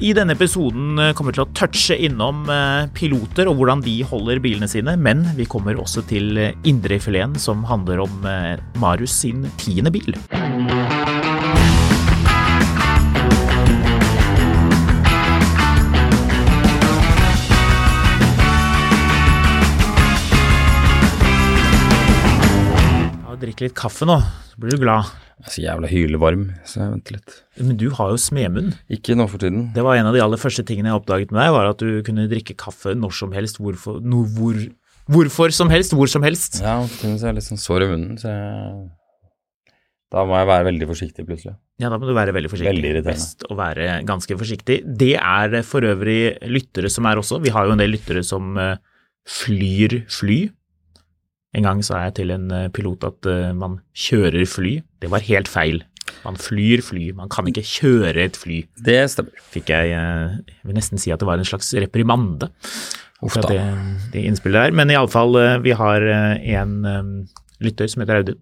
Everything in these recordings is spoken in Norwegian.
I denne episoden eh, kommer vi til å touche innom eh, piloter og hvordan de holder bilene sine, men vi kommer også til eh, indrefileten som handler om eh, Marius sin tiende bil. Ja, Drikk litt kaffe nå, så blir du glad. Jeg er så jævla hylevarm, så jeg venter litt. Men du har jo smemunn. Ikke nå for tiden. Det var en av de aller første tingene jeg oppdaget med deg, var at du kunne drikke kaffe når som helst, hvorfor, no, hvor, hvorfor som helst, hvor som helst. Ja, for tiden så er jeg litt sånn sår i munnen, så jeg... Da må jeg være veldig forsiktig plutselig. Ja, da må du være veldig forsiktig. Veldig irriterende. Best å være ganske forsiktig. Det er det for øvrig lyttere som er også. Vi har jo en del lyttere som eh, flyr fly. En gang sa jeg til en eh, pilot at eh, man kjører fly. Det var helt feil. Man flyr fly, man kan ikke kjøre et fly. Det stemmer. Fikk jeg, eh, jeg vil nesten si at det var en slags reprimande. Uff akkurat da. det, det innspillet der. Men iallfall, vi har eh, en eh, lytter som heter Audun,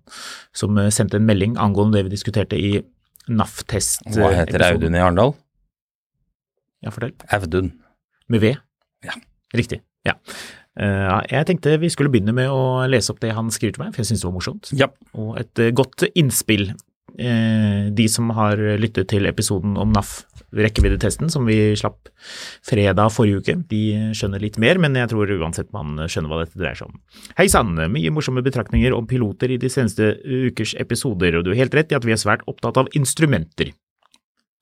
som eh, sendte en melding angående det vi diskuterte i NAF-test. eh, Hva heter Audun i Arendal? Ja, fortell. Audun. Med V? Ja. Riktig. Ja. Eh, ja, jeg tenkte vi skulle begynne med å lese opp det han skriver til meg, for jeg syns det var morsomt. Ja. Og et eh, godt innspill. Eh, De som har lyttet til episoden om NAF, rekkeviddetesten, som vi slapp fredag forrige uke, de skjønner litt mer, men jeg tror uansett man skjønner hva dette dreier seg om. Hei sann, mye morsomme betraktninger om piloter i de seneste ukers episoder, og du har helt rett i at vi er svært opptatt av instrumenter.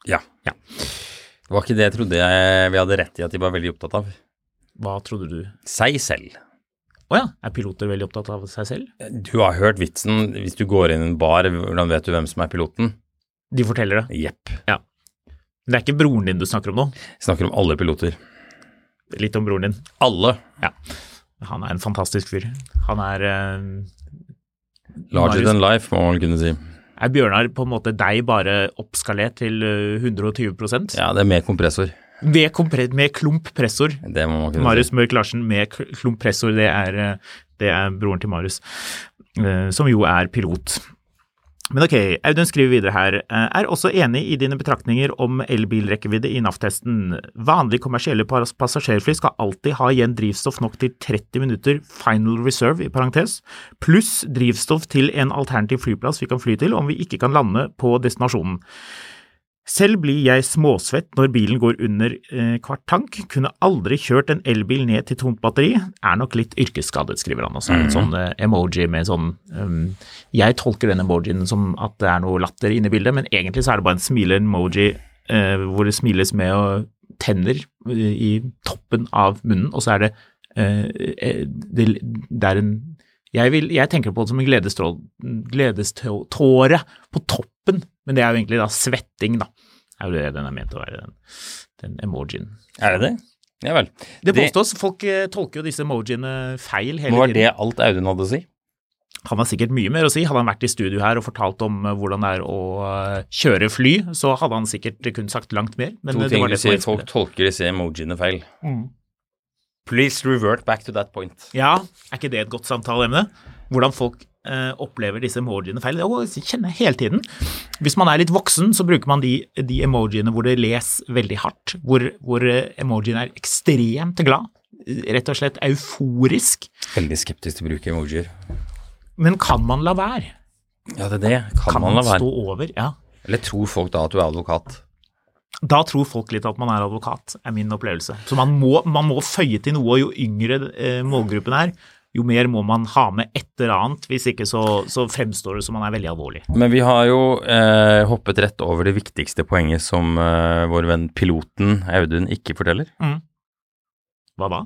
Ja. Ja. Det var ikke det jeg trodde jeg, vi hadde rett i at de var veldig opptatt av. Hva trodde du? Seg selv. Å ja, er piloter veldig opptatt av seg selv? Du har hørt vitsen, hvis du går inn i en bar, hvordan vet du hvem som er piloten? De forteller det. Jepp. Men Det er ikke broren din du snakker om nå. Jeg snakker om alle piloter. Litt om broren din. Alle. Ja. Han er en fantastisk fyr. Han er eh, Larger Marius- than life, må man vel kunne si. Er Bjørnar på en måte deg bare oppskalert til eh, 120 Ja, det er mer kompressor. Med, kompre- med klumppressor. Det må man kunne Marius si. Mørk Larsen med kl- klumppressor, det er, eh, det er broren til Marius, eh, som jo er pilot. Men ok, Audun skriver videre her. eh, Er også enig i dine betraktninger om elbilrekkevidde i NAF-testen. Vanlige kommersielle pas- passasjerfly skal alltid ha igjen drivstoff nok til 30 minutter final reserve, i parentes, pluss drivstoff til en alternativ flyplass vi kan fly til om vi ikke kan lande på destinasjonen. Selv blir jeg småsvett når bilen går under eh, hvert tank. Kunne aldri kjørt en elbil ned til tomt batteri. Er nok litt yrkesskadet, skriver han også. En sånn eh, emoji med sånn um, Jeg tolker den emojien som at det er noe latter inne i bildet, men egentlig så er det bare en smile-emoji eh, hvor det smiles med og tenner eh, i toppen av munnen, og så er det eh, eh, det, det er en jeg, vil, jeg tenker på det som en gledestrål- gledeståre på toppen, men det er jo egentlig da svetting, da. Er jo det den er ment å være, den, den emojien. Er det det? Ja vel. Det påstås, folk eh, tolker jo disse emojiene feil hele Var tiden. det alt Audun hadde å si? Han har sikkert mye mer å si. Hadde han vært i studio her og fortalt om eh, hvordan det er å eh, kjøre fly, så hadde han sikkert kun sagt langt mer. Men To eh, det ting var du det Mm. som var sier, folk innspillet. tolker disse emojiene feil. Please revert back to that point. Ja, er ikke det et godt samtaleemne? Hvordan folk eh, opplever disse emojiene feil. Det kjenner jeg hele tiden. Hvis man er litt voksen, så bruker man de, de emojiene hvor det les veldig hardt, hvor, hvor eh, emojien er ekstremt glad, rett og slett euforisk. Veldig skeptisk til å bruke emojier. Men kan man la være? Ja, det er det. Kan, Kan man la man være? stå over? Ja. Eller tror folk da at du er advokat? Da tror folk litt at man er advokat, er min opplevelse. Så man må, man må føye til noe, og jo yngre eh, målgruppen er, jo mer må man ha med et eller annet, hvis ikke så, så fremstår det som man er veldig alvorlig. Men vi har jo eh, hoppet rett over det viktigste poenget som eh, vår venn piloten Audun ikke forteller. Mm. Hva da?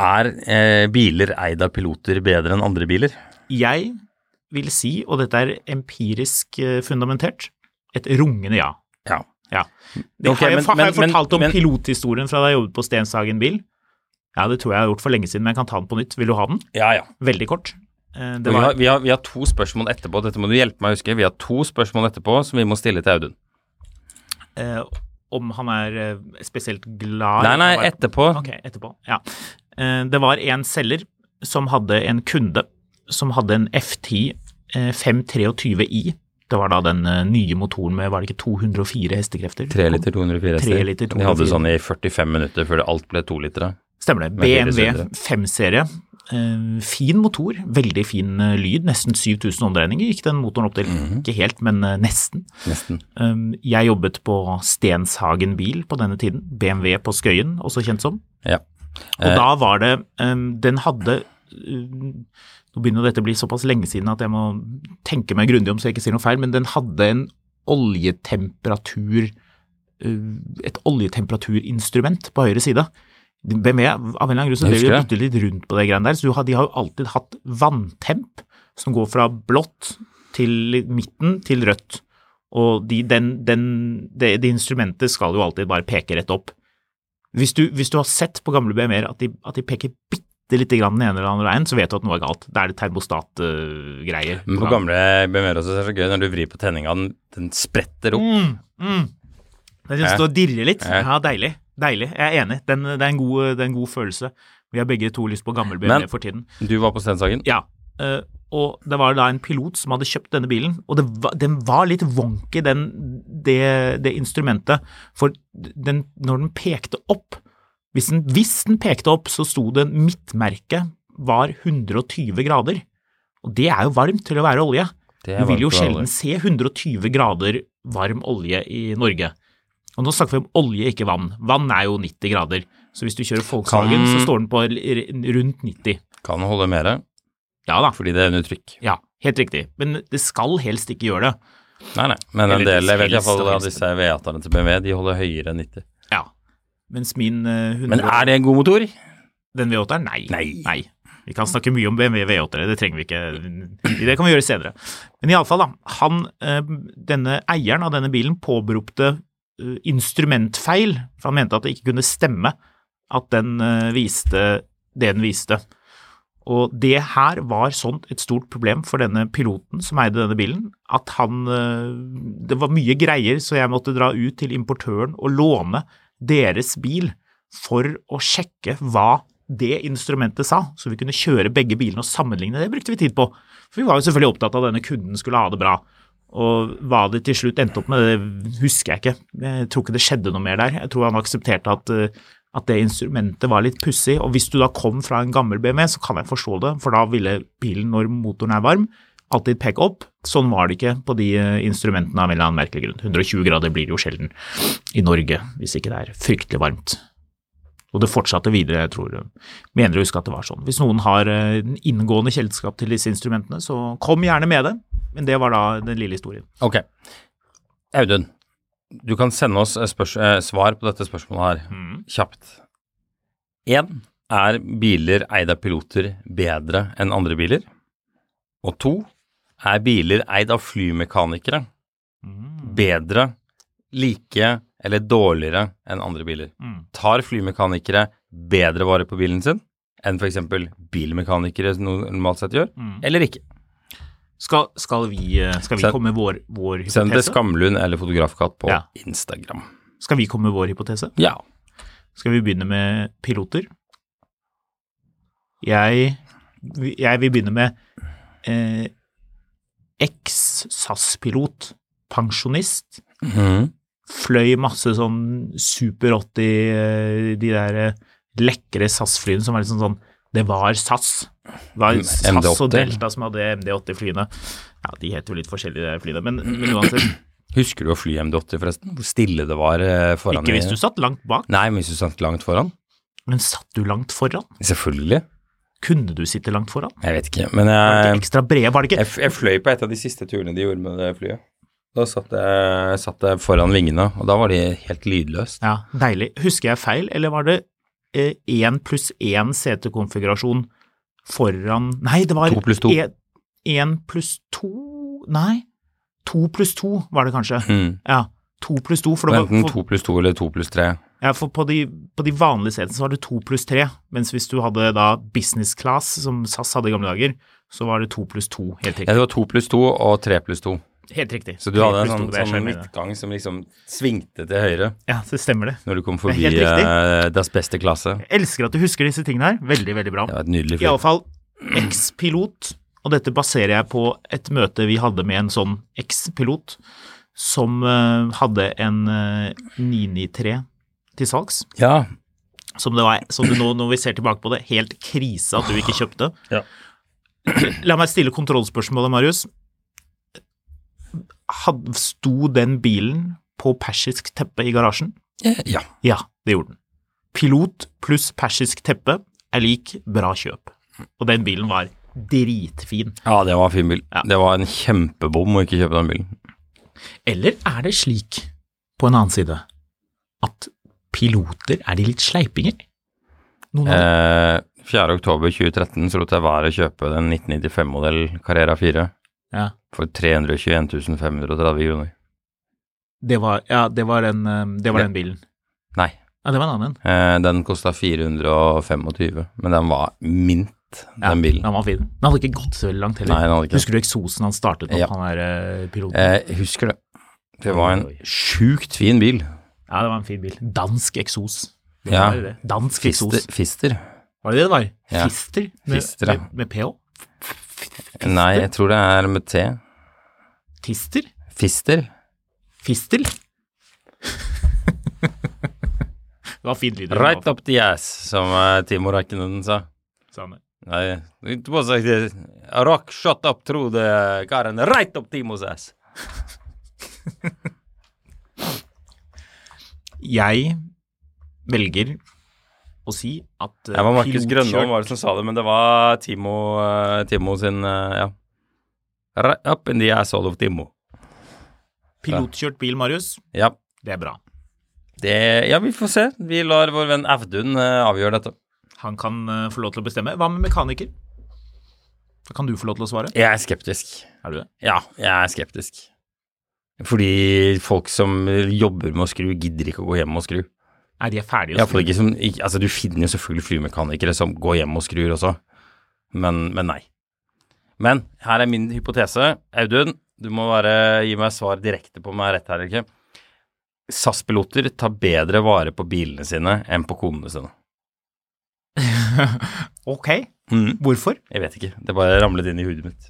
Er eh, biler eid av piloter bedre enn andre biler? Jeg vil si, og dette er empirisk eh, fundamentert, et rungende ja. Ja. Ja. Det Ok, har, jeg, men- har jeg men- men- fortalt om men- pilothistorien fra da jeg jobbet på Stenshagen bil? Ja, det tror jeg jeg har gjort for lenge siden, men jeg kan ta den på nytt. Vil du ha den? Ja, ja. Veldig kort. Eh, Det vi, var, har, vi, har, vi har to spørsmål etterpå, dette må du hjelpe meg å huske. Vi har to spørsmål etterpå som vi må stille til Audun. eh, om han er eh, spesielt glad Nei, nei, Han var- etterpå. Ok, etterpå. Ja. Eh, Det var en selger som hadde en kunde som hadde en FT eh, 523i. Det var da den eh, nye motoren med, var det ikke 204 hestekrefter? 3 liter 204 hester. Tre liter De hadde 204. sånn i 45 minutter før det alt ble 2 liter. Stemmer det. Med høyre BMW sylindere. 5-serie. Eh, fin motor, veldig fin eh, lyd. Nesten 7000 omdreininger gikk den motoren opp til. Ikke helt, men eh, nesten. Mhm. Nesten. Eh, jeg jobbet på Stenshagen bil på denne tiden. BMW på Skøyen, også kjent som. Ja. Og Eh. da var det ehm, Den hadde ehm, Nå begynner jo dette å bli såpass lenge siden at jeg må tenke meg grundig om så jeg ikke sier noe feil, men den hadde en oljetemperatur ehm, Et oljetemperaturinstrument på høyre side. BMW av en eller annen grunn så drev Jeg de og husker byttet litt rundt på det greiene der, så du har- de har jo alltid hatt vanntemp som går fra blått til midten til rødt. Og de, den, den, det, det instrumentet skal jo alltid bare peke rett opp. Hvis du, hvis du har sett på gamle BMW-er at, de- at de peker bitte lite grann den ene eller andre veien, så vet du at noe er galt. Da er det termostatgreier. Men Mm, på gamle BMW-er også så er det så gøy når du vrir på tenninga, den, den spretter opp. mm, mm. Den synes Ja. du dirrer litt. Ja. Ja, deilig. Deilig. Jeg er enig. Den, det, er en god, det er en god følelse. Vi har begge to lyst på gammel BMW Men- for tiden. Du var på Stenshagen. Mm. Ja. eh, og det var da en pilot som hadde kjøpt denne bilen, og det var, den var litt wonky, den, det, det instrumentet. For den, når den pekte opp hvis den, hvis den pekte opp, så sto det midtmerket var 120 grader. Og det er jo varmt til å være olje. Det Du vil jo varmt for alle. sjelden se 120 grader varm olje i Norge. Og nå snakker vi om olje, ikke vann. Vann er jo 90 grader. Så hvis du kjører Volkswagen, Kan- så står den på r- rundt 90. Kan holde mere, Ja da. fordi det er under trykk. Ja, helt riktig. Men det skal helst ikke gjøre det. Nei, nei. Men en Eller del, jeg vet helst iallfall og av helst. disse V8-ene til BMW, de holder høyere enn 90. Ja. Mens min eh, 100 Men er det en god motor? Den V8-er? Nei. Nei. Vi kan snakke mye om BMW V8-ere, det trenger vi ikke. Det kan vi gjøre senere. Men iallfall, da. Han, eh, denne eieren av denne bilen påberopte eh, instrumentfeil, for han mente at det ikke kunne stemme at den eh, viste det den viste. Og det her var sånt et stort problem for denne piloten som eide denne bilen, at han eh, Det var mye greier, så jeg måtte dra ut til importøren og låne deres bil for å sjekke hva det instrumentet sa, så vi kunne kjøre begge bilene og sammenligne. Det brukte vi tid på. For vi var jo selvfølgelig opptatt av at denne kunden skulle ha det bra. Og hva det til slutt endte opp med, det husker jeg ikke. Jeg tror ikke det skjedde noe mer der. Jeg tror han aksepterte at, eh, at det instrumentet var litt pussig. Og hvis du da kom fra en gammel BMW, så kan jeg forstå det, for da ville bilen, når motoren er varm, alltid peke opp. Sånn var det ikke på de eh, instrumentene av en eller annen merkelig grunn. 120 grader blir det jo sjelden i Norge, hvis ikke det er fryktelig varmt. Og det fortsatte videre, jeg tror. eh, Mener å huske at det var sånn. Hvis noen har eh, en inngående kjennskap til disse instrumentene, så kom gjerne med det. Men det var da den lille historien. Ok. Audun, du kan sende oss spørs eh, svar på dette spørsmålet her kjapt. Én, er biler eid av piloter bedre enn andre biler? Og to, er biler eid av flymekanikere bedre, like eller dårligere enn andre biler? Tar flymekanikere bedre vare på bilen sin enn f.eks. bilmekanikere normalt sett gjør, eller ikke? Skal, skal vi, eh, skal vi Send- komme med vår, vår Send til hypotese? Skamlund eller Fotografkatt på Ja. Instagram. Skal vi komme med vår hypotese? Ja. Skal vi begynne med piloter? Jeg, jeg vil begynne med eh, eks-SAS-pilot, pensjonist. Mhm. Fløy masse sånn Super 80, eh, de der eh, lekre SAS-flyene som var liksom sånn Det var SAS. Det var Mm, SAS og MD-80. Delta som hadde MD-80-flyene. Ja, de heter jo litt forskjellig, de flyene, men, men uansett. Husker du å fly MD-80 forresten? Hvor stille det var eh, foran Ikke i- hvis du satt langt bak, Nei, men hvis du satt langt foran. men satt du langt foran? Selvfølgelig. Kunne du sitte langt foran? Jeg vet ikke, men Var det jeg, ikke ekstra brede, var det Eh, jeg, ikke? f- jeg fløy på et av de siste turene de gjorde med det flyet. Da satt jeg, satt jeg foran vingene, og da var de helt lydløst. Ja, deilig. Husker jeg feil, eller var det én pluss én setekonfigurasjon foran Nei, det var To pluss to. Én pluss to Nei, to pluss to var det kanskje. Mm. Ja, to pluss to. For, det var, Enten for, to pluss to eller to pluss tre. ja, for på, de, på de vanlige setene så var det to pluss tre, mens hvis du hadde da business class, som SAS hadde i gamle dager, så var det to pluss to. Helt Ja, riktig. det var to pluss to og tre pluss to. Helt riktig. Eh, Så du Tre hadde en pluss to, sånn, det er sånn skjermen, det. midtgang som liksom svingte til høyre Ja, så stemmer det. når du kom er forbi helt riktig. eh, Das Beste klasse. Jeg elsker at du husker disse tingene her. Veldig, veldig bra. Det var et nydelig fly. Iallfall eks-pilot, og dette baserer jeg på et møte vi hadde med en sånn eks-pilot som eh, hadde en eh, 993 til salgs, Ja, som det var, som det nå når vi ser tilbake på det, helt krise at du ikke kjøpte. Ja. La meg stille kontrollspørsmålet, Marius. Had, sto den bilen på persisk teppe i garasjen? ja. Ja, det gjorde den. Pilot pluss persisk teppe er lik bra kjøp. Og den bilen var dritfin. ja det var en fin bil. Ja. Det var en kjempebom å ikke kjøpe den bilen. Eller er det slik, på en annen side, at piloter er de litt sleipinger? Noen av dem. Eh, 4. oktober 2013 så lot jeg være å kjøpe den 1995-modell Carrera 4 Ja. for 321 530 kroner. Det var, ja, det var, den, eh, det var den bilen. Nei, Ja, det var en annen en. eh, den kosta 425, men den var mint, Ja, den bilen. Den var fin. Den hadde ikke gått så veldig langt heller. Nei, den hadde ikke det. Husker du eksosen han startet opp, Ja. han der eh, piloten? Eh, husker det. Det var en Oi, oi. sjukt fin bil. Ja, det var en fin bil. Dansk eksos. Det Ja. var det. Dansk Fister. eksos. Fister. Var det det det var? Ja. Fister? Med, Fister, ja. med, med PH? Nei, jeg tror det er med T. Tister? Fister. Fistel? det var fin lyd. Right up the ass, som eh, Timo Räikkönen sa. Sa han det. Nei, it was like this. A rock shot up through the car and right up Timos ass. Jeg velger å si at eh, Det var Markus Grønholm var var det som sa det, men det var Timo, eh, Timo sin eh, Ja. Right up in the asshole of Timo. pilotkjørt bil, Marius. Ja. Det er bra. Det, ja, vi får se. Vi lar vår venn Evdun eh, avgjøre dette. Han kan eh, få lov til å bestemme. Hva med mekaniker? Da kan du få lov til å svare. Jeg er skeptisk. Er du det? Ja, jeg er skeptisk. Fordi folk som jobber med å skru, gidder ikke å gå hjem og skru. Er de ferdige? å Iallfall skru? ikke som ikke, Altså, du finner jo selvfølgelig flymekanikere som går hjem og skrur også, men, men nei. Men her er min hypotese. Audun, du må bare gi meg svar direkte på om jeg har rett her eller ikke. SAS-piloter tar bedre vare på bilene sine enn på konene sine. Ok, Mm. hvorfor? Jeg vet ikke, det bare ramlet inn i hodet mitt.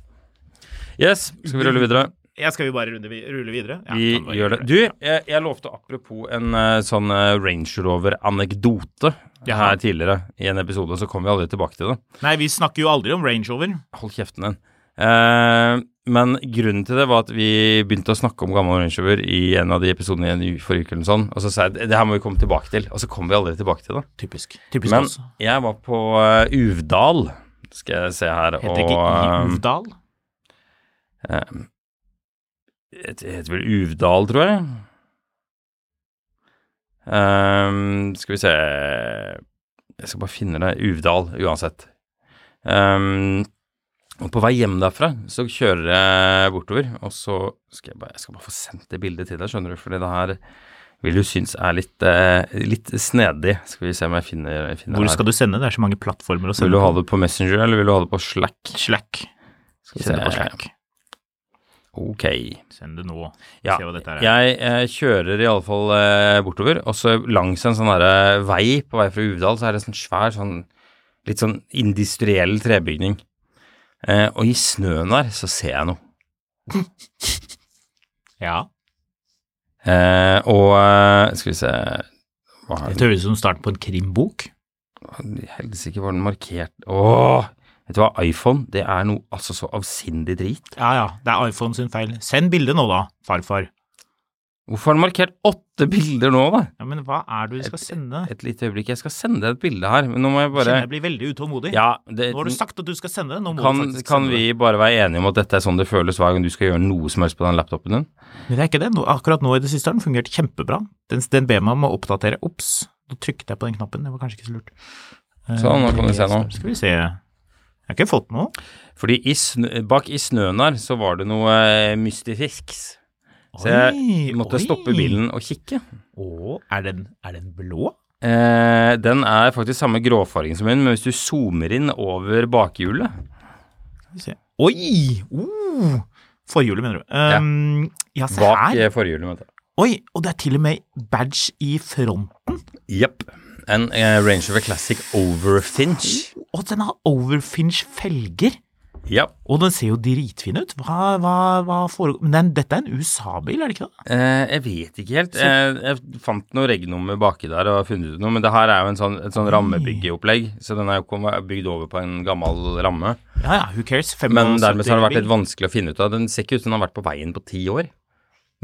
Yes, skal vi rulle videre? Jeg skal vi bare runde, vi- rulle videre? Ja, Vi kan bare gjør det. Du, jeg, jeg lovte apropos en eh, sånn eh, Range Rover-anekdote Jaha. her tidligere i en episode, så kom vi aldri tilbake til det. Nei, vi snakker jo aldri om Range Rover. Hold kjeften din. Eh, men grunnen til det var at vi begynte å snakke om gammel Range Rover i en av de episodene i en u- forrige uke eller noe sånt, og så sa jeg det her må vi komme tilbake til, og så kom vi aldri tilbake til det. Typisk. Typisk Men oss. jeg var på eh, Uvdal, skal jeg se her, Heter det ikke eh, Ivdal? Det heter vel Uvdal, tror jeg. Ehm, skal vi se Jeg skal bare finne det. Uvdal, uansett. Ehm, og på vei hjem derfra så kjører jeg bortover, og så skal jeg bare, jeg skal bare få sendt det bildet til deg, skjønner du, fordi det her vil du synes er litt, eh, litt snedig. Skal vi se om jeg finner, jeg finner Hvor det her. skal du sende? Det er så mange plattformer å Vil sende du ha på. det på Messenger, eller vil du ha det på Slack? Slack. Skal Send det på Slack. Ok. Send det nå. Ja, Se hva dette er. jeg eh, kjører iallfall eh, bortover, og så langs en sånn derre vei på vei fra Uvdal, så er det sånn svær, sånn litt sånn industriell trebygning. Eh, og i snøen der så ser jeg noe. Ja. Eh, og eh, skal vi se Hva er Dette høres ut som starten på en krimbok. det Helsike, var den markert Åh! Vet du hva, iPhone det er noe altså så avsindig drit. Ja ja, det er iPhone sin feil. Send bildet nå da, farfar. Hvorfor har den markert åtte bilder nå, da? Ja, Men hva er det du skal sende? Et lite øyeblikk, jeg skal sende deg et bilde her, men nå må jeg bare Kjenner jeg blir veldig utålmodig. Ja, det, Nå har du sagt at du skal sende det. Nå må du kan, faktisk kan sende det. vi bare være enige om at dette er sånn det føles hver gang du skal gjøre noe som helst på den laptopen din? Men det er ikke det. Nå, akkurat nå i det siste har den fungert kjempebra. Den, den ber meg om å oppdatere. Ops, nå trykket jeg på den knappen. Det var kanskje ikke så lurt. Eh, Sånn, nå kan du se nå. Skal vi se. Jeg har ikke fått noe. Fordi i snø, bak i snøen her så var det noe eh, mystisk. Så Oi, jeg måtte oi. stoppe bilen og kikke. Å, er den, er den blå? Eh, den er faktisk samme gråfargen som min, men hvis du zoomer inn over bakhjulet Skal vi se. Oi! Uh, forhjulet, mener du. Um, ja. se Bak her. eh, forhjulet, vet du. Oi, og det er til og med badge i front. Jepp. En eh, Range Rover Classic Overfinch. Og den har Overfinch-felger. Ja. Og den ser jo dritfin ut. Hva, hva, hva foregår Men den, dette er en USA-bil, er det ikke det? Eh, jeg vet ikke helt. Eh, jeg fant noe regnummer baki der og har funnet ut noe, men det her er jo en sånn, et sånn rammebyggeopplegg, så den er jo konver- bygd over på en gammel ramme. Ja ja, who cares? Men dermed så har det vært litt bil. vanskelig å finne ut av. Den ser ikke ut som den har vært på veien på ti år,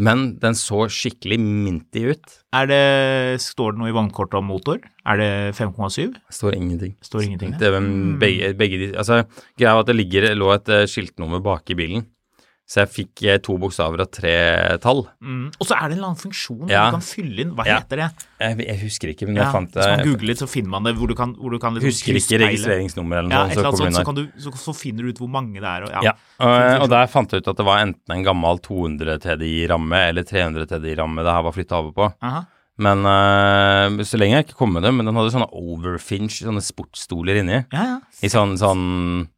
men den så skikkelig minty ut. Er det, Står det noe i vannkortet om motor? Er det 5,7? Det står ingenting. Står ingenting. Det er hvem- begge, begge de Altså, greia var at det ligger, lå et eh, skiltnummer baki bilen, så jeg fikk eh, to bokstaver og tre tall. Mm. Og så er det en eller annen funksjon Ja. hvor du kan fylle inn Hva Ja. heter det? Jeg, jeg husker ikke, men jeg Ja, fant hvis man det. googler litt, så finner man det. Hvor du kan, hvor du kan liksom Jeg husker krysspeile. ikke registreringsnummer eller Ja, noe et sånt. eller annet sånt, så kom hun så, der. kan du, så, så finner du ut hvor mange det er. Og, ja. Ja, Fin Eh, og, og funksjon. der fant jeg ut at det var enten en gammel 200 TDI-ramme eller 300 TDI-ramme det her var flytta over på. Aha. Men eh, så lenge jeg ikke kom med det, men den hadde sånne overfinch, sånne sportsstoler inni. ja, ja. I sånn sånn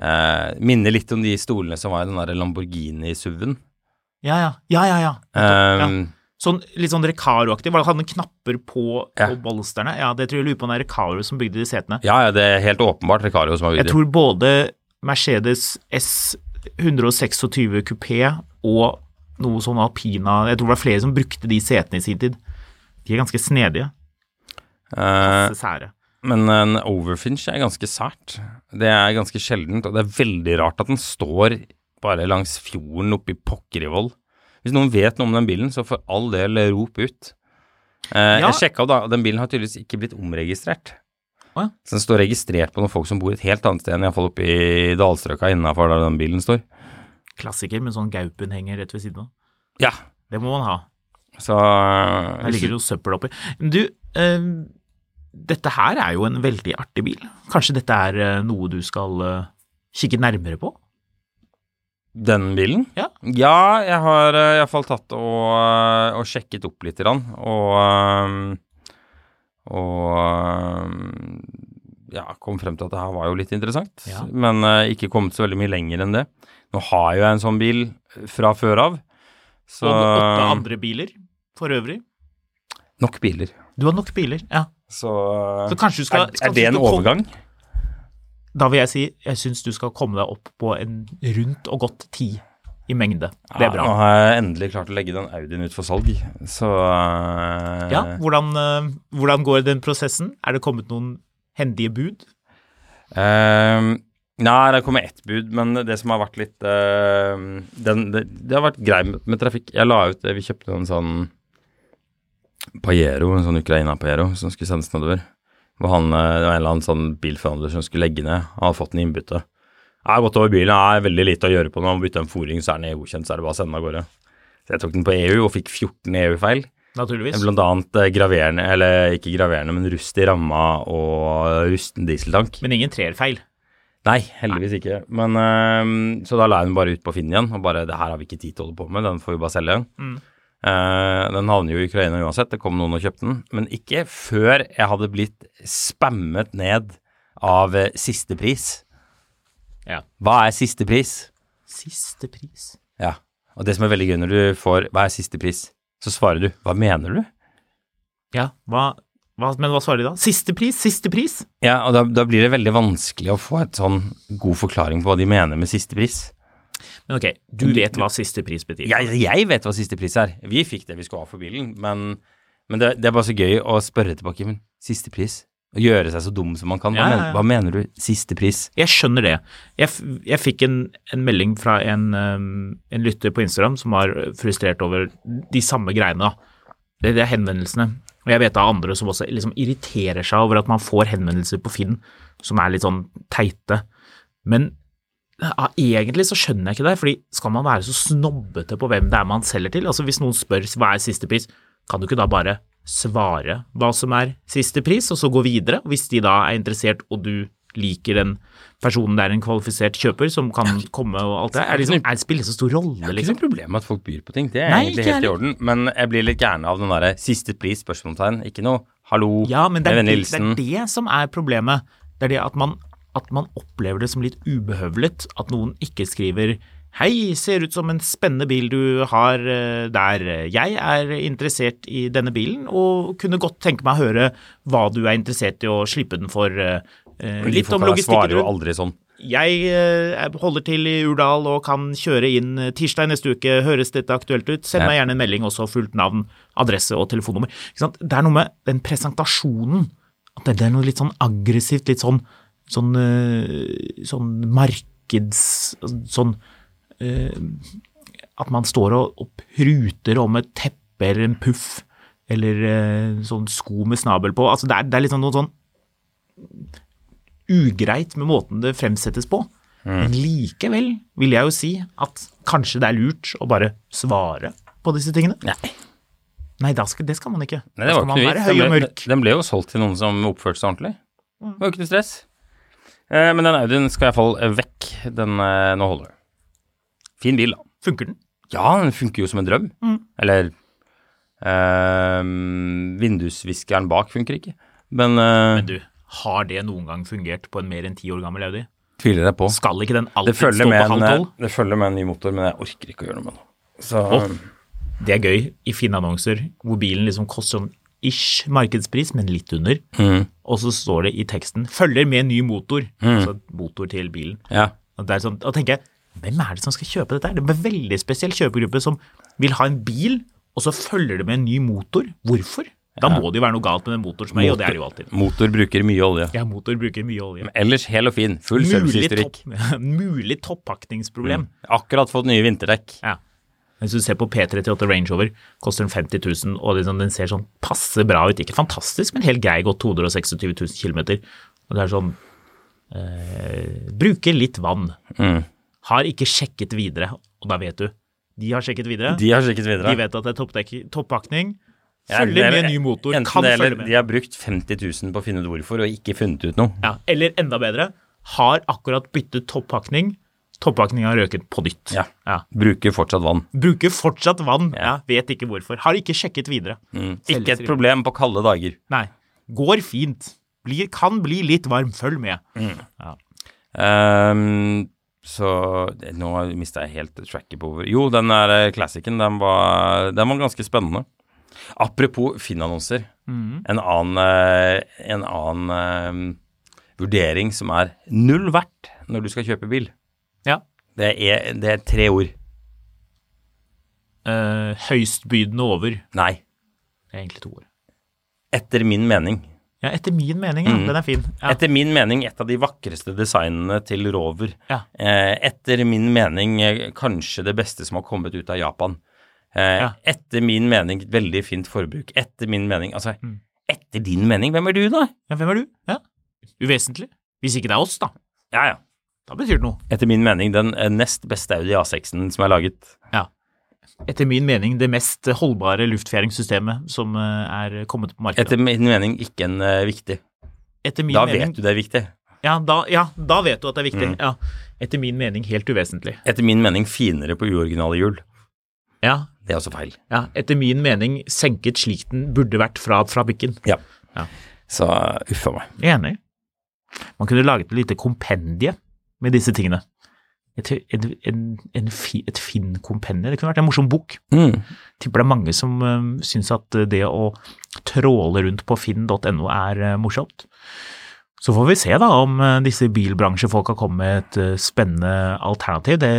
eh, Minner litt om de stolene som var i den der Lamborghini-SUV-en. Ja, ja. ja, ja, ja. Eh, Sånn, litt sånn Recaro-aktig. Var det hadde knapper på, Ja. på bolsterne? Ja, det tror jeg lurer på om det er Recaro som bygde de setene. ja, ja, det er helt åpenbart Recario som har Jeg bygd det. tror både Mercedes S126 kupé og noe sånn alpina Jeg tror det var flere som brukte de setene i sin tid. De er ganske snedige. Eh, så Sære. men en overfinch er ganske sært. Det er ganske sjeldent, og det er veldig rart at den står bare langs fjorden oppe i Pokkerivoll. Hvis noen vet noe om den bilen, så for all del rop ut. Eh, Ja. Jeg sjekka, da, og den bilen har tydeligvis ikke blitt omregistrert. Å ja. Så den står registrert på noen folk som bor et helt annet sted enn iallfall oppe i dalstrøka innafor der den bilen står. Klassiker med sånn gaupen henger rett ved siden av. Ja, Det må man ha. så Her ligger det jo søppel oppi. Du, eh, dette her er jo en veldig artig bil. Kanskje dette er eh, noe du skal eh, kikke nærmere på? Den bilen? Ja. Ja, jeg har iallfall tatt og, eh, og sjekket opp litt, grann, og, eh, og eh, ja, kom frem til at det her var jo litt interessant, Ja. men eh, ikke kommet så veldig mye lenger enn det. Nå har jo jeg en sånn bil fra før av, så Og åtte andre biler for øvrig? eh, Nok biler. Du har nok biler, ja. Så, Så kanskje du skal, er, er det kanskje du en skal kom- overgang? Da vil jeg si jeg syns du skal komme deg opp på en rundt og godt ti i mengde. Det er Ja, nå bra. har jeg endelig klart å legge den Audien ut for salg, så eh, Ja, hvordan, eh, hvordan går den prosessen? Er det kommet noen hendige bud? Ehm, nei, det kommer ett bud, men det som har vært litt ehm, den, det, det har vært grei med, med trafikk. Jeg la ut eh, Vi kjøpte en sånn Pajero, en sånn Ukraina-Pajero, som skulle sendes nedover. Hvor han, eh, det var en eller annen sånn bilforhandler som skulle legge ned. Han hadde fått den i innbytte. Jeg har gått over bilen, det er veldig lite å gjøre på den. Han må bytte en foring, så er den EU-kjent, så er det bare å sende den av gårde. Så jeg tok den på EU og fikk 14 EU-feil. Naturligvis. Blant annet eh, graverende, eller ikke graverende, men rust i ramma og rusten dieseltank. Men ingen treerfeil. Nei, heldigvis ikke. Men, øhm, så da la jeg den bare ut på Finn igjen, og bare det her har vi ikke tid til å holde på med, den får vi bare selge. Eh, den havner jo i Ukraina uansett, det kom noen og kjøpte den. Men ikke før jeg hadde blitt spammet ned av eh, siste pris. Ja. Hva er siste pris? Siste pris. Ja. Og det som er veldig gøy når du får hva er siste pris, så svarer du hva mener du? Ja, hva, hva, men hva svarer de da? Siste pris, siste pris! Ja, og da, da blir det veldig vanskelig å få et sånn god forklaring på hva de mener med siste pris. Men ok, du vet hva siste pris betyr. Jeg, jeg vet hva siste pris er. Vi fikk det vi skulle ha for bilen, men, men det, det er bare så gøy å spørre tilbake. Men siste pris, Å gjøre seg så dum som man kan. Hva, Ja, ja, mener, ja. hva mener du? Siste pris? Jeg skjønner det. Jeg, f jeg fikk en, en melding fra en, øhm, en lytter på Instagram som var frustrert over de samme greiene. da. Det, det er henvendelsene. Og jeg vet av andre som også liksom irriterer seg over at man får henvendelser på Finn som er litt sånn teite. Men ja, egentlig så skjønner jeg ikke det, fordi skal man være så snobbete på hvem det er man selger til? Altså Hvis noen spør hva er siste pris, kan du ikke da bare svare hva som er siste pris, og så gå videre? Og Hvis de da er interessert, og du liker den personen det er en kvalifisert kjøper som kan komme og alt det der, er det liksom, er det spiller så stor rolle, Det er ikke liksom? noe problem med at folk byr på ting, det er Nei, egentlig ikke helt i orden. Men jeg blir litt gæren av den derre siste pris? spørsmålstegn. Ikke noe hallo, Ja, men det er med det, vennlig det hilsen. er det som er problemet. Det er det at man, at man opplever det som litt ubehøvlet. At noen ikke skriver Hei, ser ut som en spennende bil du har eh, der. Jeg er interessert i denne bilen og kunne godt tenke meg å høre hva du er interessert i å slippe den for. eh, eh, Men de Litt om folka der svarer logistikken jo rundt aldri sånn. Jeg eh, holder til i Urdal og kan kjøre inn eh, tirsdag neste uke. Høres dette aktuelt ut? Send Ja. meg gjerne en melding også, fullt navn, adresse og telefonnummer. Ikke sant? Det er noe med den presentasjonen. At det det er noe litt sånn aggressivt, litt sånn sånn, eh, sånn markeds... Sånn eh, At man står og, og pruter om et teppe eller en puff eller eh, sånn sko med snabel på. Altså det er, det er liksom noe sånn ugreit med måten det fremsettes på. Men likevel vil jeg jo si at kanskje det er lurt å bare svare på disse tingene. Nei. Nei, da skal, det skal man ikke. da Nei, det skal var ikke man noe være vits. høy og Den ble, mørk. Mm. den ble jo solgt til noen som oppførte seg ordentlig. Det var jo ikke noe stress. Eh, men den Audien skal iallfall vekk. Den eh, nå holder det. Fin bil, da. Funker den? Ja, den funker jo som en drøm. Eller eh, Vindusviskeren bak funker ikke. Men, eh, Men du, har det noen gang fungert på en mer enn ti år gammel Audi? tviler jeg på. Skal ikke den Det alltid stå følger, på med halv en, eh, tolv? det følger med en ny motor, men jeg orker ikke å gjøre noe med den. Så eh, Det er gøy i Finn-annonser hvor bilen liksom koster sånn ish markedspris, men litt under. Og så står det i teksten 'følger med ny motor', altså motor til bilen. ja. Og, det er sånn, og tenker jeg, hvem er det som skal kjøpe dette her? Det er en veldig spesiell kjøpegruppe som vil ha en bil, og så følger det med en ny motor. Hvorfor? Da må det jo være noe galt med den motoren som er i, og det er det jo alltid. Motor bruker mye olje. Ja, motor bruker mye olje. Ellers hel og fin. Full Mulig, servicehistorikk. topp, mulig toppakningsproblem. Mm. Akkurat fått nye vinterdekk. Ja. Hvis du ser på P38 Range Rover, koster den 50 000, og liksom, den ser sånn passe bra ut. Ikke fantastisk, men helt grei, gått 226 000 km. Og det er sånn eh, Bruker litt vann. Mm. Har ikke sjekket videre, og da vet du. De har sjekket videre. De, De har sjekket videre. vet at det er toppdekk- toppakning. Ja, Følger det er- med ny motor, enten kan det, eller følge med. De har brukt 50 000 på å finne ut hvorfor, og ikke funnet ut noe. Ja, eller enda bedre, har akkurat byttet toppakning. Toppakninga har røket på nytt. Ja. Ja. Bruker fortsatt vann. Bruker fortsatt vann, ja. Ja. Mm. vet ikke hvorfor. Har ikke sjekket videre. Ikke et problem på kalde dager. Nei. Går fint. Blir, kan bli litt varm, følg med. Mm. Ehm, så det, nå mista jeg helt tracket på hvor Jo, den der eh, classicen, den var, den var ganske spennende. Apropos Finn-annonser. En annen, eh, en annen eh, vurdering som er null verdt når du skal kjøpe bil. Ja. Det er, det er tre ord. Eh, høystbydende over. Nei. Det er egentlig to ord. Etter min mening. Ja, etter min mening, Mm. ja. Den er fin. Ja. Etter min mening et av de vakreste designene til Rover. Ja. Eh, etter min mening eh, kanskje det beste som har kommet ut av Japan. Eh, Ja. Etter min mening et veldig fint forbruk. Etter min mening Altså, Mm. etter din mening, hvem er du, da? ja, hvem er du? Ja. Uvesentlig. Hvis ikke det er oss, da. Ja, ja. Da betyr det noe. Etter min mening den eh, nest beste Audi A6-en som er laget. Ja. Etter min mening det mest holdbare luftfjæringssystemet som eh, er kommet på markedet. Etter min mening ikke en eh, viktig. Etter min Da mening, vet du det Mm. er viktig. Ja da, ja, da vet du at det er viktig. Ja. Etter min mening helt uvesentlig. Etter min mening finere på uoriginale hjul. Ja, Det er også feil. ja. Etter min mening senket slik den burde vært fra fabrikken. Ja. Ja. Så eh, uff a meg. Enig. Man kunne laget et lite kompendie med disse tingene. Et, en, en, en, fi- et Finn-kompendie. Det kunne vært en morsom bok. Mm. Tipper det er mange som øhm, syns at øh, det å tråle rundt på finn.no er øh, morsomt. Så får vi se da om øh, disse bilbransjefolka kommer med et øh, spennende alternativ. Det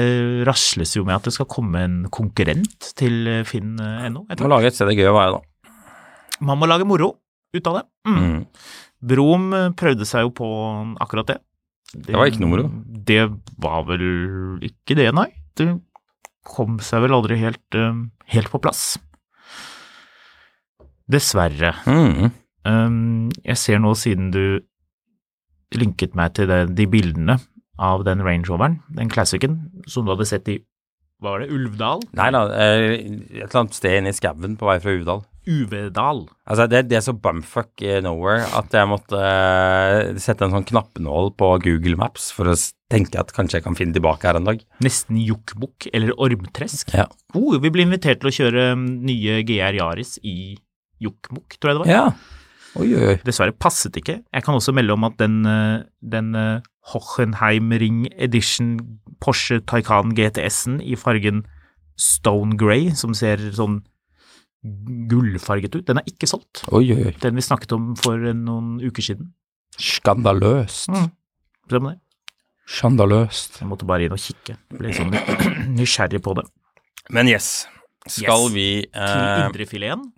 rasles jo med at det skal komme en konkurrent til øh, finn.no. etter Må hvert. lage et sted det er gøy å være, da. Man må lage moro ut av det. Mm. Mm. Brom eh, prøvde seg jo på akkurat det. Det, var ikke noe moro. Det var vel ikke det, nei. Det kom seg vel aldri helt, eh, helt på plass. Dessverre. Mm. Um, jeg ser nå, siden du linket meg til det, de bildene av den Range Roveren, den classicen, som du hadde sett i hva var det, Ulvdal? Nei da, eh, et eller annet sted inne i skauen på vei fra Uvdal. Uvedal. Altså, det, det er så bumfuck eh, nowhere at jeg måtte eh, sette en sånn knappenål på Google Maps for å s- tenke at kanskje jeg kan finne tilbake her en dag. Nesten Jokkmokk eller Ormtresk. Ja. Oh, vi ble invitert til å kjøre um, nye GR Yaris i Jokkmokk, tror jeg det var. Oi, oi, oi. Dessverre passet ikke. Jeg kan også melde om at den, eh, den eh, Hochenheim Ring Edition Porsche Taycan GTS-en i fargen Stone Grey, som ser sånn gullfarget ut, den er ikke solgt. Oi, oi, oi. Den vi snakket om for eh, noen uker siden. Skandaløst. Mm. Se på det. Skandaløst. Jeg måtte bare inn og kikke. Ble sånn nysgjerrig på det. Men yes, skal Yes. vi Til eh, indrefileten.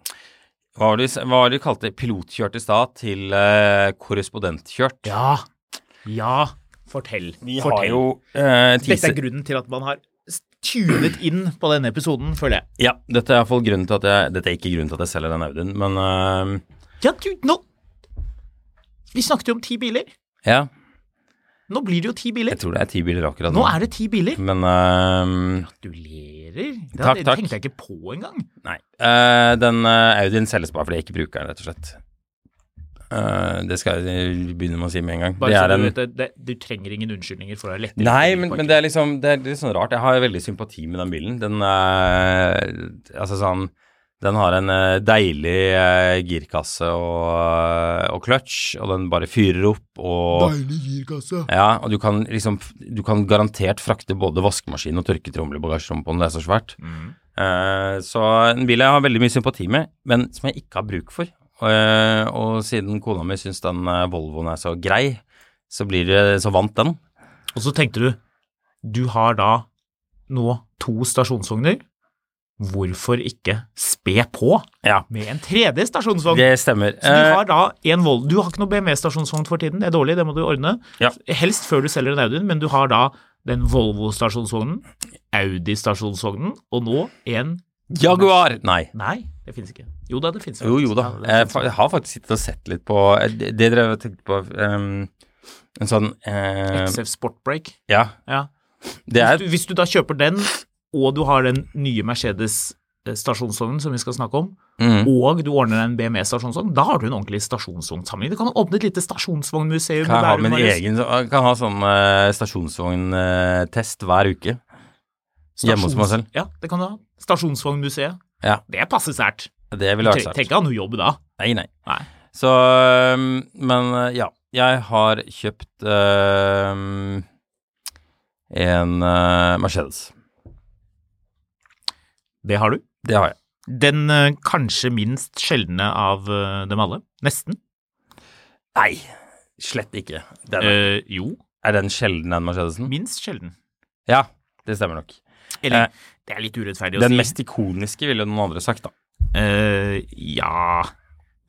Hva var det hva var det de kalte pilotkjørt i stad til eh, korrespondentkjørt? Ja. Ja. Fortell. Vi har Fortell. jo eh, Dette teaser er grunnen til at man har tunet inn på denne episoden, føler jeg. Ja, dette er i hvert fall grunnen til at jeg Dette er ikke grunnen til at jeg selger den Audien, men eh, Ja, du, nå Vi snakket jo om ti biler. ja. Nå blir det jo ti Jeg biler. tror det er ti biler akkurat Nå er det ti biler. Men eh, Gratulerer. Det, Takk, det takk. tenkte jeg ikke på engang. Nei. Eh, den eh, Audien selges bare fordi jeg ikke bruker den, rett og slett. Eh, det skal jeg begynne med å si med en gang. Bare det så er du en vet det, det, du trenger ingen unnskyldninger for å ha lettere Nei, men, men det er liksom Det er litt sånn rart. Jeg har veldig sympati med den bilen. Den eh, Altså sånn Den har en eh, deilig eh, girkasse og, eh, og clutch, og den bare fyrer opp og Deilig girkasse. Ja, og du kan liksom Du kan garantert frakte både vaskemaskin og tørketrommel i bagasjerommet på den, det er så svært. Eh, så en bil jeg har veldig mye sympati med, men som jeg ikke har bruk for. Eh, og siden kona mi syns den eh, Volvoen er så grei, så blir det så vant den. Og så tenkte du Du har da nå to stasjonsvogner. Hvorfor ikke spe på Ja, med en tredje stasjonsvogn? det stemmer. Så du Eh, har da en Vol Du har ikke noe BMW-stasjonsvogn for tiden, det er dårlig, det må du ordne. Ja. Helst før du selger en Audien, men du har da den Volvo-stasjonsvognen, Audi-stasjonsvognen, og nå en Jaguar! Nei. Nei, det fins ikke. Jo da, det fins. Jo, jo da. Jeg, fa- jeg har faktisk sittet og sett litt på eh, Det det drev jeg og tenkte på ehm, En sånn eh, XF Sportbreak. Ja. Ja. Det Hvis er du, hvis du da kjøper den, og du har den nye Mercedes eh, stasjonsvognen som vi skal snakke om, mm, og du ordner deg en BMW stasjonsvogn, da har du en ordentlig stasjonsvognsamling. Du kan åpne et lite stasjonsvognmuseum. i Kan jeg ha Bærum, min Marius. egen jeg Kan ha sånn eh, stasjonsvogntest hver uke. hjemme hos meg selv. Stasjons- Ja, det kan du ha. Stasjonsvognmuseet. Ja. Det er passe sært. Det ville vært Tre- sært. Tenk deg noe jobb da. Nei, nei. Nei. Så øhm, Men øh, ja. Jeg har kjøpt øhm, en øh, Mercedes. Det har du. Det har jeg. Den eh, kanskje minst sjeldne av eh, dem alle. Nesten. Nei, slett ikke. Den, Eh, jo, er den sjelden, den Mercedesen? minst sjelden. Ja, det stemmer nok. Eller, Eh, det er litt urettferdig å Den si. mest ikoniske ville noen andre sagt, da. Eh, ja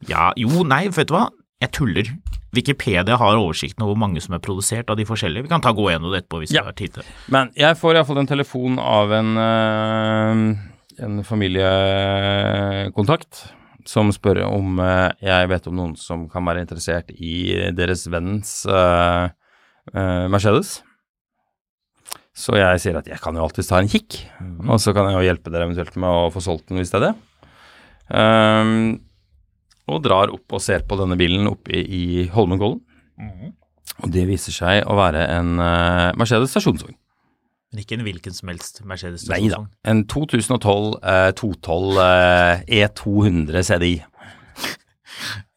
Ja, jo, nei, vet du hva? Jeg tuller. Wikipedia har oversikten over hvor mange som er produsert av de forskjellige. Vi kan ta gå gjennom det etterpå hvis Ja. vi har tid til det. Men jeg får iallfall en telefon av en, eh, en familiekontakt som spør om eh, jeg vet om noen som kan være interessert i deres vennens eh, eh, Mercedes. Så jeg sier at jeg kan jo alltids ta en kikk, og så kan jeg jo hjelpe dere eventuelt med å få solgt den hvis det er det. Ehm, og drar opp og ser på denne bilen oppe i, i Holmenkollen. Og det viser seg å være en eh, Mercedes stasjonsvogn. Men ikke en hvilken som helst Mercedes. Nei da. stasjonsvogn. En 2012 eh, 212 eh, E200 CDI.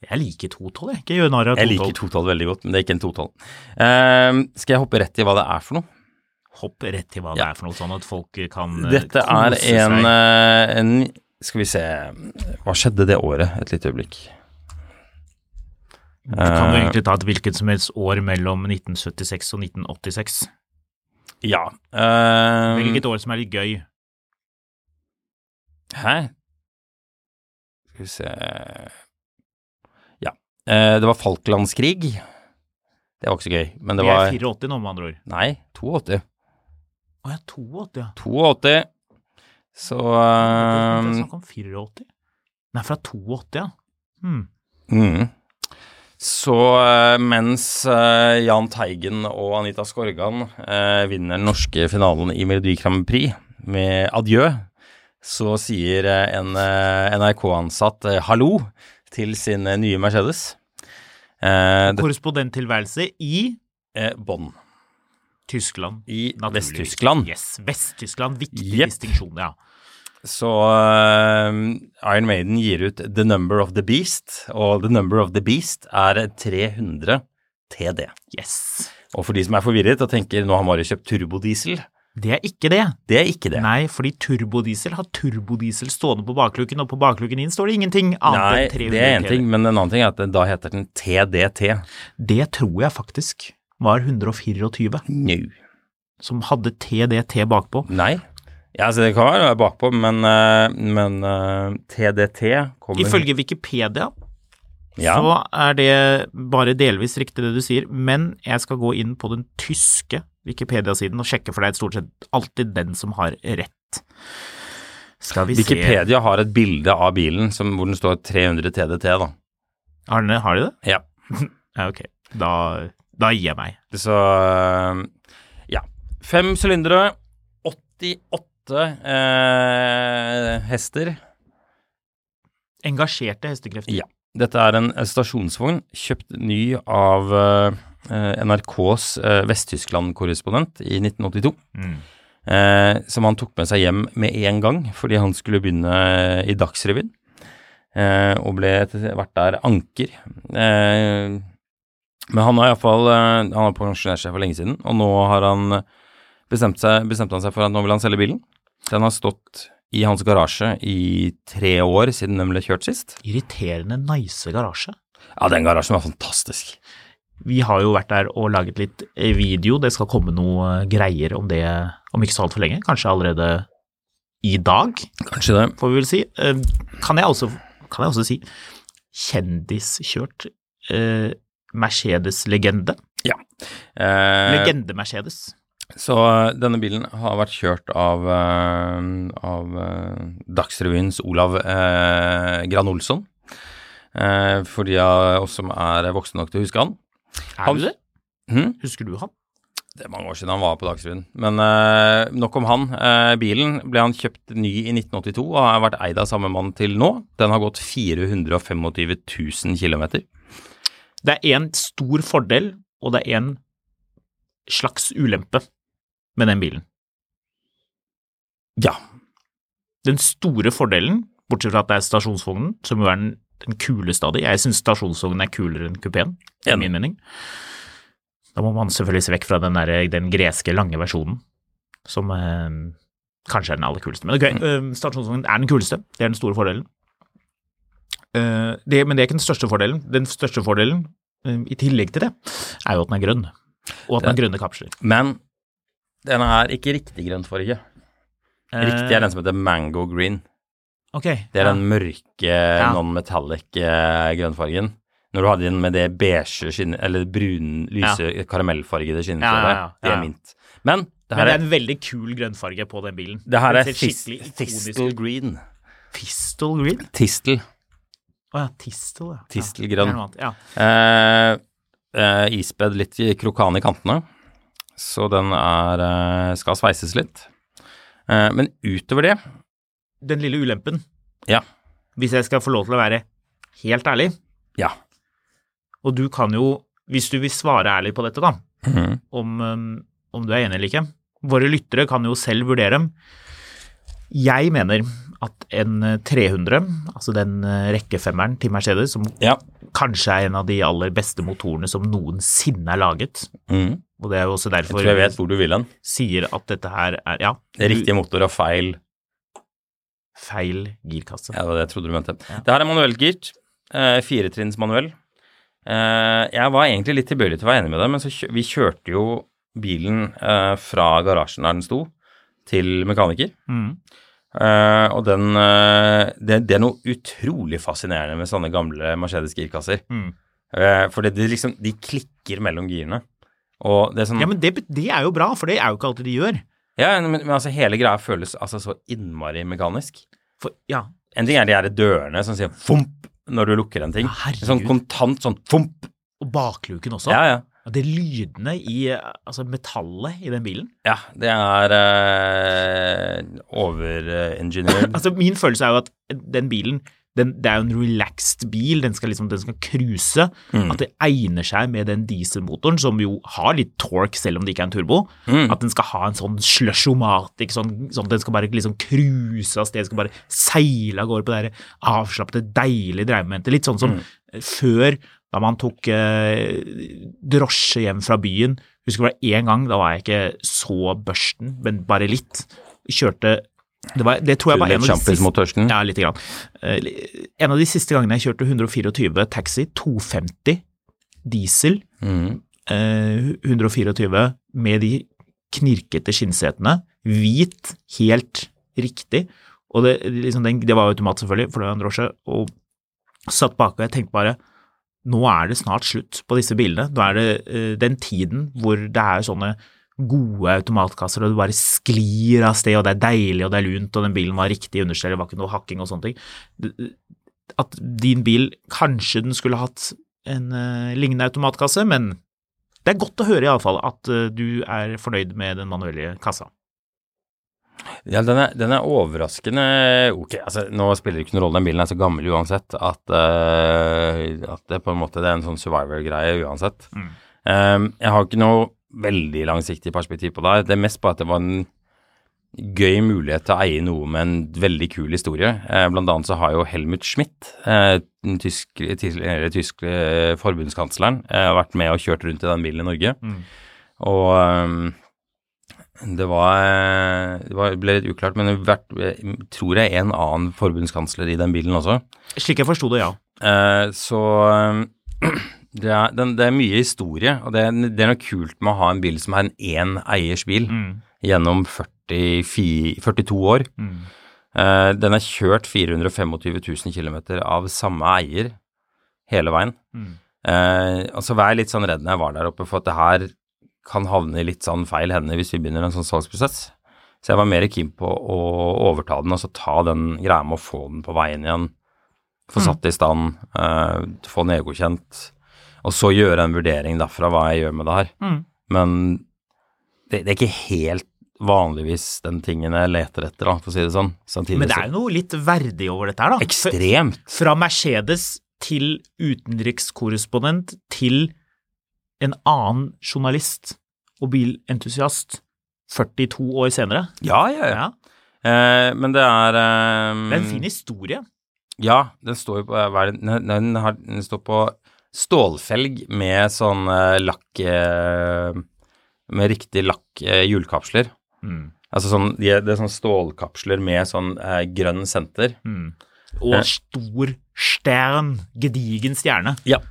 Jeg liker 212, jeg. Ikke gjør narr av 212. Jeg liker 212 veldig godt, men det er ikke en 212. Ehm, skal jeg hoppe rett i hva det er for noe? Hopp rett til hva det Ja. er for noe, sånn at folk kan eh, Dette er kose seg. en, eh, en Skal vi se Hva skjedde det året? Et lite øyeblikk. Du eh, kan jo egentlig ta et hvilket som helst år mellom 1976 og 1986. Ja. ehm, Velg et år som er litt gøy. Hæ? Skal vi se Ja, Eh, det var Falklandskrig. Det var ikke så gøy, men det Vi er var 84 nå, med andre ord. Nei, 82. Å ja, 82, ja. 82. Så Um, eh, snakk om 84. Nei, fra 82, ja. Hmm. mm. Så eh, mens eh, Jahn Teigen og Anita Skorgan eh, vinner den norske finalen i Melodi Grand Prix med adjø, så sier eh, en eh, NRK-ansatt eh, hallo til sin eh, nye Mercedes. Eh, det, Korrespondenttilværelse i eh, Bonn. Tyskland. I Naturligvis. Vest-Tyskland. Yes, Vest-Tyskland. Viktig Jepp. distinksjon, ja. Så eh, Iron Maiden gir ut The Number of the Beast, og The Number of the Beast er 300 TD. Yes. Og for de som er forvirret og tenker nå har Mario kjøpt turbodiesel, Det er ikke det. det er ikke det. Nei, fordi turbodiesel har turbodiesel stående på bakluken, og på bakluken din står det ingenting Nei, annet enn 300 det er én ting, TV. men en annen ting er at da heter den TDT. Det tror jeg faktisk var 124, No. som hadde TDT bakpå. Nei. Ja, altså det kan være noe bakpå, men, eh, men eh, TDT kommer Ifølge Wikipedia ja. så er det bare delvis riktig det du sier, men jeg skal gå inn på den tyske Wikipedia-siden og sjekke, for det er stort sett alltid den som har rett. Skal vi se Wikipedia har et bilde av bilen som, hvor den står 300 TDT, da. Arne, har de det? Ja. Ja, ok. Da, da gir jeg meg. Så eh, ja. Fem sylindere, 88 eh, hester. Engasjerte hestekrefter. Ja. Dette er en stasjonsvogn kjøpt ny av eh, NRKs eh, Vest-Tyskland-korrespondent i 1982. Mm. Eh, som han tok med seg hjem med en gang, fordi han skulle begynne i Dagsrevyen. Eh, og ble etter hvert der anker. Eh, men han har iallfall eh, Han har pensjonert seg for lenge siden, og nå har han bestemt seg, bestemte han seg for at nå vil han selge bilen. Den har stått i hans garasje i tre år siden den ble kjørt sist. Irriterende nice garasje. Ja, den garasjen var fantastisk. Vi har jo vært der og laget litt eh, video. Det skal komme noe eh, greier om det om ikke så altfor lenge. Kanskje allerede i dag, Kanskje det. får vi vel si. Eh, Kan jeg også, kan jeg også si kjendiskjørt eh, Mercedes-legende? Eh, Legende-Mercedes. så eh, denne bilen har vært kjørt av, eh, av eh, Dagsrevyens Olav eh, Gran Olsson. Eh, for de av oss som er voksne nok til å huske han. Er du det? Hm? Husker du han? Det er mange år siden han var på Dagsrevyen. Men eh, nok om han. Eh, bilen ble han kjøpt ny i 1982 og har vært eid av samme mann til nå. Den har gått 425 000 km. Det er en stor fordel, og det er en slags ulempe med den bilen. Ja. Den store fordelen, bortsett fra at det er stasjonsvognen, som jo er den, den kuleste av de Jeg syns stasjonsvognen er kulere enn kupeen, i Enig. min mening. Da må man selvfølgelig se vekk fra den, der, den greske lange versjonen, som eh, kanskje er den aller kuleste. Men ok, Mm. eh, stasjonsvognen er den kuleste. Det er den store fordelen. Eh, det, men det er ikke den største fordelen. Den største fordelen, eh, i tillegg til det, er jo at den er grønn. Og at den har grønne kapsler. Men den er ikke riktig grønn farge. Eh, Riktig er den som heter mango green. ok, Det er ja. den mørke non-metallic eh, grønnfargen. Når du hadde den med det beige skinnet, eller brun, lyse, karamellfargede skinnet, Ja, ja, ja, det ja. er mint. Men det Men her det er er, en veldig kul grønnfarge på den bilen. det her Den er ser fis- skikkelig ikonisk ut. fistel green. Fistel green? Tistel. Å ja, tistel, ja. Ja, Tistelgrønn. det er noe annet, ja. Eh, eh, Ispedd litt i krokan i kantene, så den er, eh, skal sveises litt. Eh, men utover det, Den lille ulempen, ja, hvis jeg skal få lov til å være helt ærlig, ja, og du kan jo, hvis du vil svare ærlig på dette, da, Mhm. om, um, om du er enig eller ikke Våre lyttere kan jo selv vurdere. Jeg mener at en eh, 300, altså den eh, rekkefemmeren til Mercedes, som ja. kanskje er en av de aller beste motorene som noensinne er laget, Mm. og det er jo også Jeg derfor tror jeg vet hvor du vil hen. sier at dette her er ja, Det er du- riktig motor og feil. feil girkasse. Ja, det var det jeg trodde du mente. Det her er manuellgirt. Eh, Firetrinns manuell. Eh, jeg var egentlig litt tilbøyelig til å være enig med deg, men så kjø vi kjørte jo bilen eh, fra garasjen der den sto, til mekaniker. Mm. Eh, og den eh, det, det er noe utrolig fascinerende med sånne gamle Mercedes girkasser. Mm. Eh, For det, det liksom, de klikker mellom girene. Og det er sånn Ja, men det, bet- det er jo bra, for det er jo ikke alltid de gjør. Ja, men, men altså, hele greia føles altså så innmari mekanisk. For, ja, En ting er de her dørene som sier fomp når du lukker en ting. Ja, herregud. sånn kontant sånn fomp. sånn. og bakluken også. Ja, ja. Og Det lydene i eh, altså metallet i den bilen. Ja, det er eh, overengineered. Altså, min følelse er jo at den bilen den, Det er jo en relaxed bil, den skal liksom, den skal cruise. At det egner seg med den dieselmotoren, som jo har litt torque selv om det ikke er en turbo. At den skal ha en sånn slushomatic, sånn, sånn at den skal bare liksom cruise av sted, skal bare seile av gårde på det her avslappede, deilige dreiemomentet. Litt sånn som før, da man tok eh, drosje hjem fra byen. Husker det var én gang, da var jeg ikke så børsten, men bare litt. Kjørte det, var, det tror jeg var en Litt av de sjampis mot siste tørsten. ja, lite grann. Eh, li- En av de siste gangene jeg kjørte 124 taxi, 250 diesel, Mm. eh, 124 med de knirkete skinnsetene, hvit, helt riktig, og det, liksom den, det var jo automat selvfølgelig, for det var en drosje, og satt bak og jeg tenkte bare, nå er det snart slutt på disse bilene. Nå er det eh, den tiden hvor det er sånne gode automatkasser, og du bare sklir av sted, og det er deilig, og det er lunt, og den bilen var riktig understell, det var ikke noe hakking og sånne ting. Det- eh, At din bil, kanskje den skulle hatt en eh, lignende automatkasse, men det er godt å høre iallfall at eh, du er fornøyd med den manuelle kassa. Ja, den er, den er overraskende ok. Altså, nå spiller det ikke noen rolle, den bilen er så gammel uansett at, eh, at det på en måte det er en sånn survivor-greie uansett. Eh, jeg har ikke noe veldig langsiktig perspektiv på det her. Det er mest bare at det var en gøy mulighet til å eie noe med en veldig kul historie. Eh, blant annet så har jo Helmut Schmidt, eh, den tysk, tidligere tyske eh, forbundskansleren, eh, vært med og kjørt rundt i den bilen i Norge. Og ehm, det var, det var, ble litt uklart, men det har vært, eh, tror jeg, en annen forbundskansler i den bilen også. Slik jeg forsto det, ja. Eh, så eh, det er, den, det er mye historie, og det er, det er noe kult med å ha en bil som er en én eiers bil gjennom 44, 42 år. Eh, den er kjørt 425 000 km av samme eier hele veien. Mm. Eh, og så var jeg litt sånn redd når jeg var der oppe, for at det her kan havne i litt sånn feil hender hvis vi begynner en sånn salgsprosess. Så jeg var mer keen på å overta den, altså ta den greia med å få den på veien igjen Mm. få satt i stand, eh, få den godkjent, og så gjøre en vurdering derfra hva jeg gjør med det her. Mm. Men det, det er ikke helt vanligvis den tingen jeg leter etter, da, for å si det sånn. Samtidig Men det er jo noe litt verdig over dette her, da. så ekstremt. fra Mercedes til utenrikskorrespondent til en annen journalist og bilentusiast 42 år senere. Ja, ja, ja. Ja, Eh, men det er eh, det er en fin historie. Ja, den står jo på eh, hva er det- den, den, har, den står på stålfelg med sånn eh, lakk eh, Med riktig lakk eh, hjulkapsler. Altså sånn, de, er- det er sånn stålkapsler med sånn eh, grønn senter. Og stor stern, gedigen stjerne, Ja.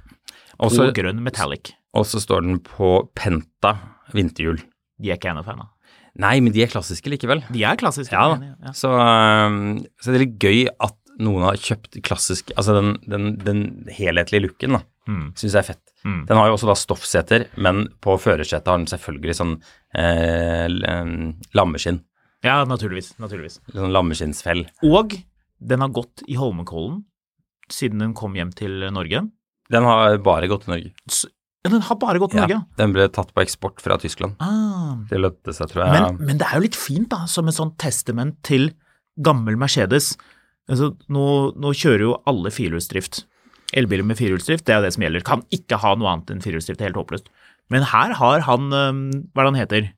Og så og grønn metallic. og så står den på Penta vinterhjul. De er ikke jeg noe fan av. Nei, men de er klassiske likevel. De er klassiske. Ja da. men- ja. Så, øhm, så det er litt gøy at noen har kjøpt klassisk Altså den, den, den helhetlige looken, da. Mm. Syns jeg er fett. Den har jo også da stoffseter, men på førersetet har den selvfølgelig sånn eh, l- em, lammeskinn. ja, naturligvis. Naturligvis. Sånn lammeskinnsfell. Og den har gått i Holmenkollen siden den kom hjem til Norge. Den har bare gått til Norge. S- Ja, den har bare gått til Norge. Den ble tatt på eksport fra Tyskland. Ah. Det lønte seg, tror jeg. Men, men det er jo litt fint, da, som et sånt testament til gammel Mercedes. Altså, nå, nå kjører jo alle firehjulsdrift. Elbiler med firehjulsdrift, det er jo det som gjelder. Kan ikke ha noe annet enn firehjulsdrift, det er helt håpløst. Men her har han, øhm, hva er det han heter,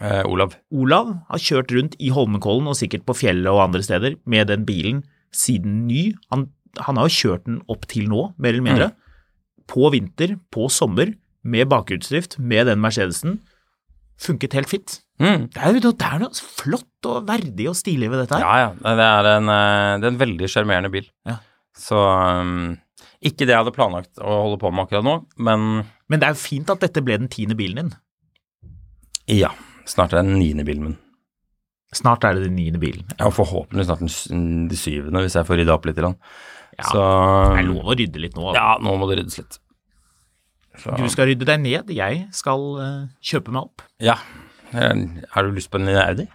eh, Olav. Olav, har kjørt rundt i Holmenkollen og sikkert på fjellet og andre steder med den bilen siden ny. Han, han har jo kjørt den opp til nå, mer eller mindre. På vinter, på sommer, med bakhjulsdrift, med den Mercedesen. Funket helt fint. Mm. Det er jo noe, det er noe flott og verdig og stilig ved dette her. Ja, ja. Nei, Det er en, eh, det er en veldig sjarmerende bil. Ja. Så um, ikke det jeg hadde planlagt å holde på med akkurat nå, men Men det er jo fint at dette ble den tiende bilen din. ja. Snart er det den niende bilen min. Snart er det den niende bilen. Og forhåpentlig snart den s- den syvende, hvis jeg får rydda opp litt. i den. Ja, Så Mm. Det er lov å rydde litt nå. altså. ja, nå må det ryddes litt. Så, Du skal rydde deg ned, jeg skal eh, kjøpe meg opp. Ja. Eh, Har du lyst på en Audi?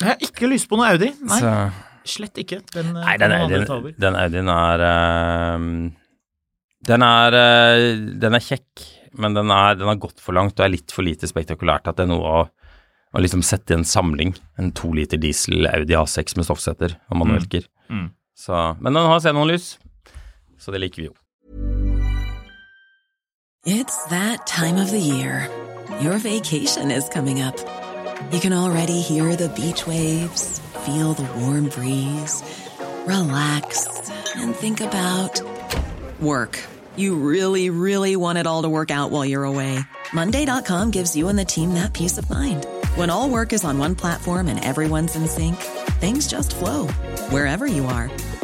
Jeg har ikke lyst på noe Audi. Nei, Så, slett ikke. Den, eh, nei, den kan andre ta Audien, over. den Audien er eh, den, er eh, den er kjekk, men den, er, den har gått for langt og er litt for lite spektakulært at det er noe å, å liksom sette i en samling. En to liter diesel Audi A6 med stoffsetter og manuelker. Mm. Så, men den har xenonlys, så det liker vi jo. It's that time of the year. Your vacation is coming up. You can already hear the beach waves, feel the warm breeze, relax, and think about work. You really, really want it all to work out while you're away. Monday.com gives you and the team that peace of mind. When all work is on one platform and everyone's in sync, things just flow wherever you are.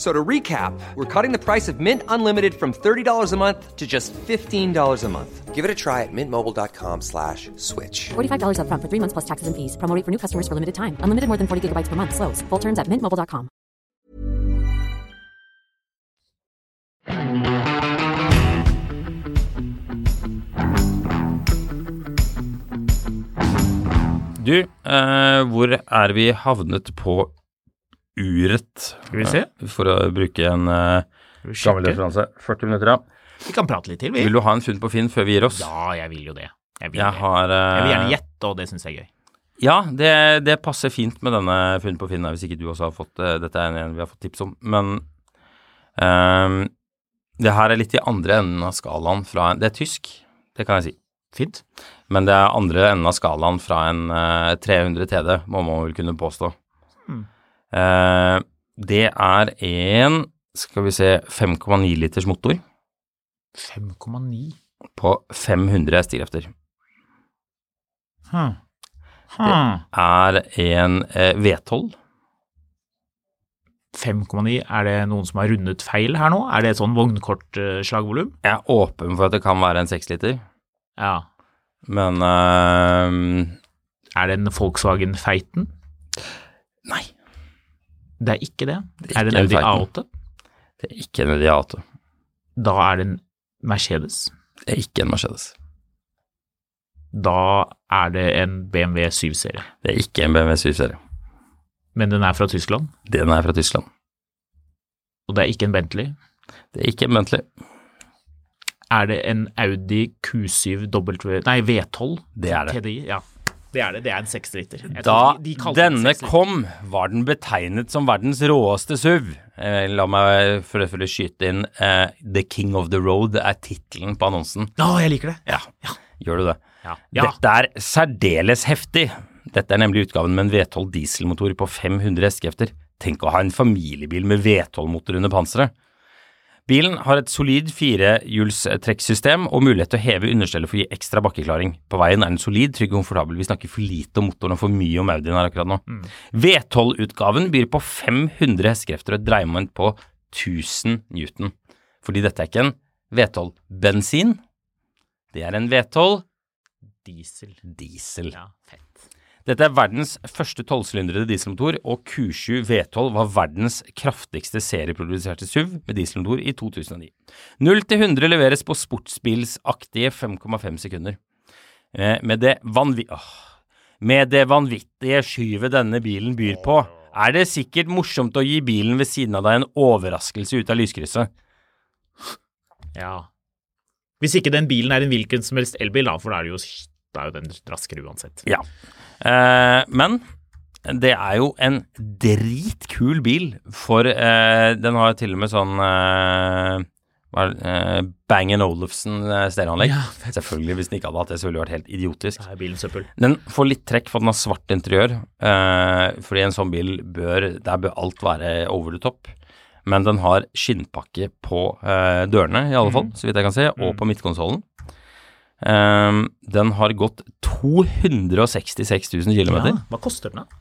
So to recap, we're cutting the price of Mint Unlimited from $30 a month to just $15 a month. Give it a try at mintmobile.com slash switch. $45 upfront for three months plus taxes and fees. Promo rate for new customers for limited time. Unlimited more than 40 gigabytes per month. Slows. Full terms at mintmobile.com. Du, eh, hvor er vi havnet på uret? Skal vi se? Eh, For å bruke en eh, Skal vi gammel sjekke? referanse. 40 minutter, ja. Vi kan prate litt til, vi. Vil du ha en funn på Finn før vi gir oss? Ja, jeg vil jo det. Jeg vil, Jeg det. har eh, jeg vil gjerne gjette, og det syns jeg er gøy. Ja, det, det passer fint med denne funn på Finn, her, hvis ikke du også har fått eh, Dette er en- en vi har fått tips om, men eh, Det her er litt i andre enden av skalaen fra Det er tysk, det kan jeg si. Fint. Men det er andre enden av skalaen fra en eh, 300 TD, må man vel kunne påstå. Hmm. Eh, det er en, skal vi se, 5,9 liters motor 5,9. på 500 hestekrefter. Hm. Hm. Er en eh, V12. 5,9, er det noen som har rundet feil her nå? Er det et sånn vognkortslagvolum? Jeg er åpen for at det kan være en 6 liter, Ja. men eh, Er det en Volkswagen Feiten? Nei, Det er ikke det. Det er det en Audi ikke A8? en det er ikke en Idiato. Da er det en Mercedes. Det er ikke en Mercedes. Da er det en BMW 7-serie. Det er ikke en BMW 7-serie. Men den er fra Tyskland, Den er fra Tyskland. og det er ikke en Bentley. Det er ikke en Bentley. Er det en Audi Q7 W... Nei, V12? Det er det. TDI, ja. Det er det. Det er en seksliter. Jeg Da tror de- de kalte den denne seksliter. kom, var den betegnet som verdens råeste SUV. Eh, la meg for øvrig skyte inn eh, The King of the Road er tittelen på annonsen. Ja, jeg liker det. Ja, gjør du det? Ja. Ja. Dette er særdeles heftig. Dette er nemlig utgaven med en V12 dieselmotor på 500 hestekrefter. Tenk å ha en familiebil med V12-motor under panseret. Bilen har et solid firehjulstrekksystem og mulighet til å heve understellet for å gi ekstra bakkeklaring. På veien er den solid, trygg og komfortabel. Vi snakker for lite om motoren og for mye om Audien her akkurat nå. Mm. V12-utgaven byr på 500 hestekrefter og et dreiemoment på 1000 newton. Fordi dette er ikke en V12-bensin, det er en V12 Diesel. diesel. Ja, fett. Dette er verdens første tolvsylindrede dieselmotor, og Q7 V12 var verdens kraftigste serieproduserte SUV med dieselmotor i 2009. 0 til 100 leveres på sportsbilsaktige 5,5 sekunder. Eh, Med det, vanvi Åh. med det vanvittige skyvet denne bilen byr på, er det sikkert morsomt å gi bilen ved siden av deg en overraskelse ut av lyskrysset. Ja. Hvis ikke den bilen er en hvilken som helst elbil, da, for da er det jo, da er jo den raskere uansett. Ja. Eh, men det er jo en dritkul bil, for eh, den har til og med sånn eh, hva er det, eh, Bang Olufsen-stereoanlegg. Ja, Selvfølgelig, hvis den ikke hadde hatt det, så ville det vært helt idiotisk. Da er bilen søppel. Den får litt trekk for den har svart interiør, eh, fordi en sånn bil bør Der bør alt være over the top. Men den har skinnpakke på eh, dørene, i alle fall, så vidt jeg kan se, og på midtkonsollen. Eh, den har gått 266 000 km. Hva koster den, da?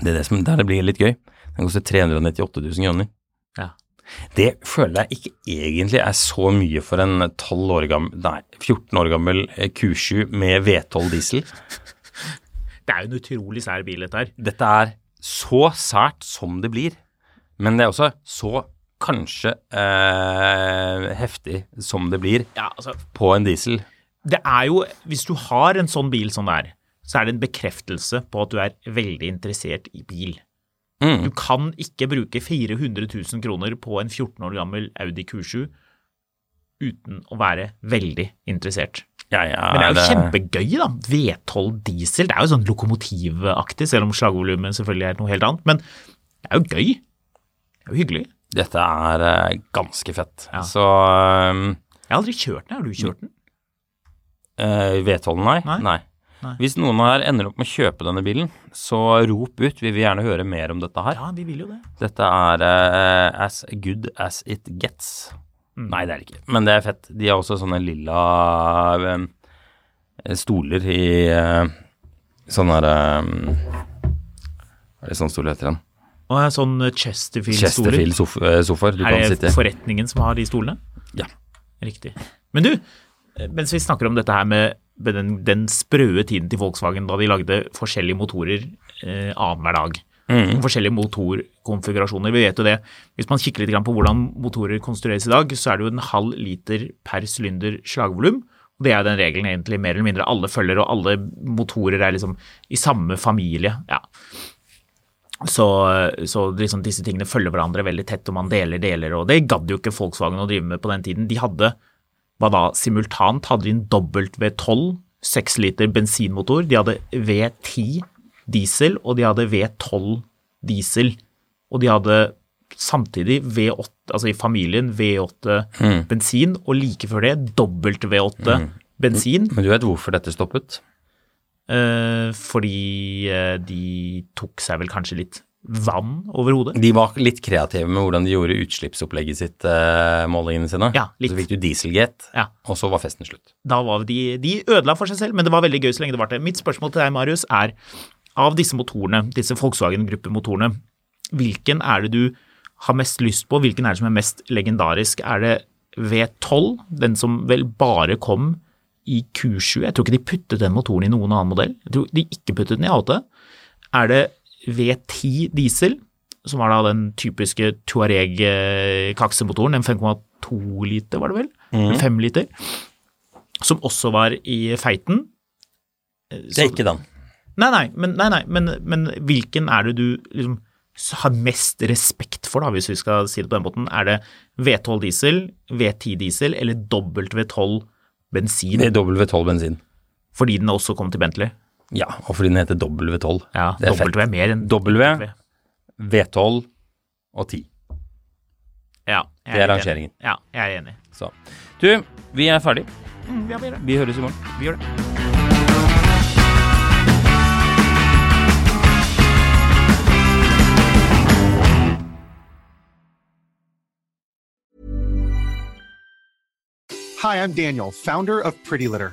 Det er det som der det blir litt gøy. Den Den koster 398 000 kroner. Ja. Det føler jeg ikke egentlig er så mye for en 12 år gammel, nei, 14 år gammel eh, Q7 med V12 diesel. Det er jo en utrolig sær bil, dette her. Dette er så sært som det blir, men det er også så kanskje eh, heftig som det blir Ja, altså, på en diesel. det er jo, hvis du har en sånn bil som det er, så er det en bekreftelse på at du er veldig interessert i bil. Du kan ikke bruke 400 000 kroner på en 14 år gammel Audi Q7 uten å være veldig interessert. Jeg Men det er jo kjempegøy, da. V12 diesel. Det er jo sånn lokomotivaktig, selv om slagvolumet selvfølgelig er noe helt annet. Men det er jo gøy. Det er jo hyggelig. Dette er eh, ganske fett. Ja. Så um, Jeg har aldri kjørt den. Har du kjørt den? eh, Vetholden, nei. Nei. nei. Hvis noen her ender opp med å kjøpe denne bilen, så rop ut. Vi vil gjerne høre mer om dette her. Ja, vi vil jo det. Dette er eh, as good as it gets. Mm. Nei, det er det ikke. Men det er fett. De har også sånne lilla eh, stoler i eh, sånn her eh, Hva er det sånn stol heter den? Og jeg har sånn Chesterfield-stoler. Chesterfield-sofaer eh, du kan Er sitte det i. forretningen som har de stolene? Ja. Riktig. Men du, eh, mens vi snakker om dette her med med den, den sprøe tiden til Volkswagen da de lagde forskjellige motorer eh, annenhver dag. Forskjellige motorkonfigurasjoner. Vi vet jo det. Hvis man kikker litt grann på hvordan motorer konstrueres i dag, så er det jo en halv liter per sylinder slagvolum. Og det er jo den regelen egentlig mer eller mindre alle følger, og alle motorer er liksom i samme familie. Ja. Så, så liksom disse tingene følger hverandre veldig tett, og man deler deler. og Det gadd jo ikke Volkswagen å drive med på den tiden. De hadde hva da, simultant hadde de en dobbelt V12, 6 liter bensinmotor. De hadde V10 diesel, og de hadde V12 diesel. Og de hadde samtidig V8, altså i familien V8 bensin, og like før det dobbelt V8 bensin. Men du vet hvorfor dette stoppet? Eh, fordi eh, de tok seg vel kanskje litt vann over hodet. De var litt kreative med hvordan de gjorde utslippsopplegget sitt, eh, målingene sine. Ja, litt. Så fikk du dieselgate, Ja. og så var festen slutt. Da var de, de ødela for seg selv, men det var veldig gøy så lenge det varte. Mitt spørsmål til deg, Marius, er av disse motorene, disse Volkswagen Gruppe-motorene, hvilken er det du har mest lyst på, hvilken er det som er mest legendarisk? Er det V12, den som vel bare kom i Q7? Jeg tror ikke de puttet den motoren i noen annen modell. Jeg tror de ikke puttet den i A8. er det V10 diesel, som var da den typiske Tuareg-kaksemotoren, den 5,2 liter var det vel, Eller 5 liter, som også var i feiten. Det er ikke den. Nei, nei, men, nei, nei, men, men hvilken er det du liksom s- har mest respekt for, da, hvis vi skal si det på den måten? Er det V12 diesel, V10 diesel eller dobbelt V12 bensin, Det er W12 bensin. fordi den også kom til Bentley? Ja, og fordi den heter W12. Ja, det er dobbelt V er mer enn W, V12 og 10. Ja, jeg Det er helt enig. rangeringen. Ja, jeg er enig. Så. Du, vi er ferdig. Ja, vi gjør det. Vi høres i morgen. Vi gjør det. Hi, I'm Daniel, founder of Pretty Litter.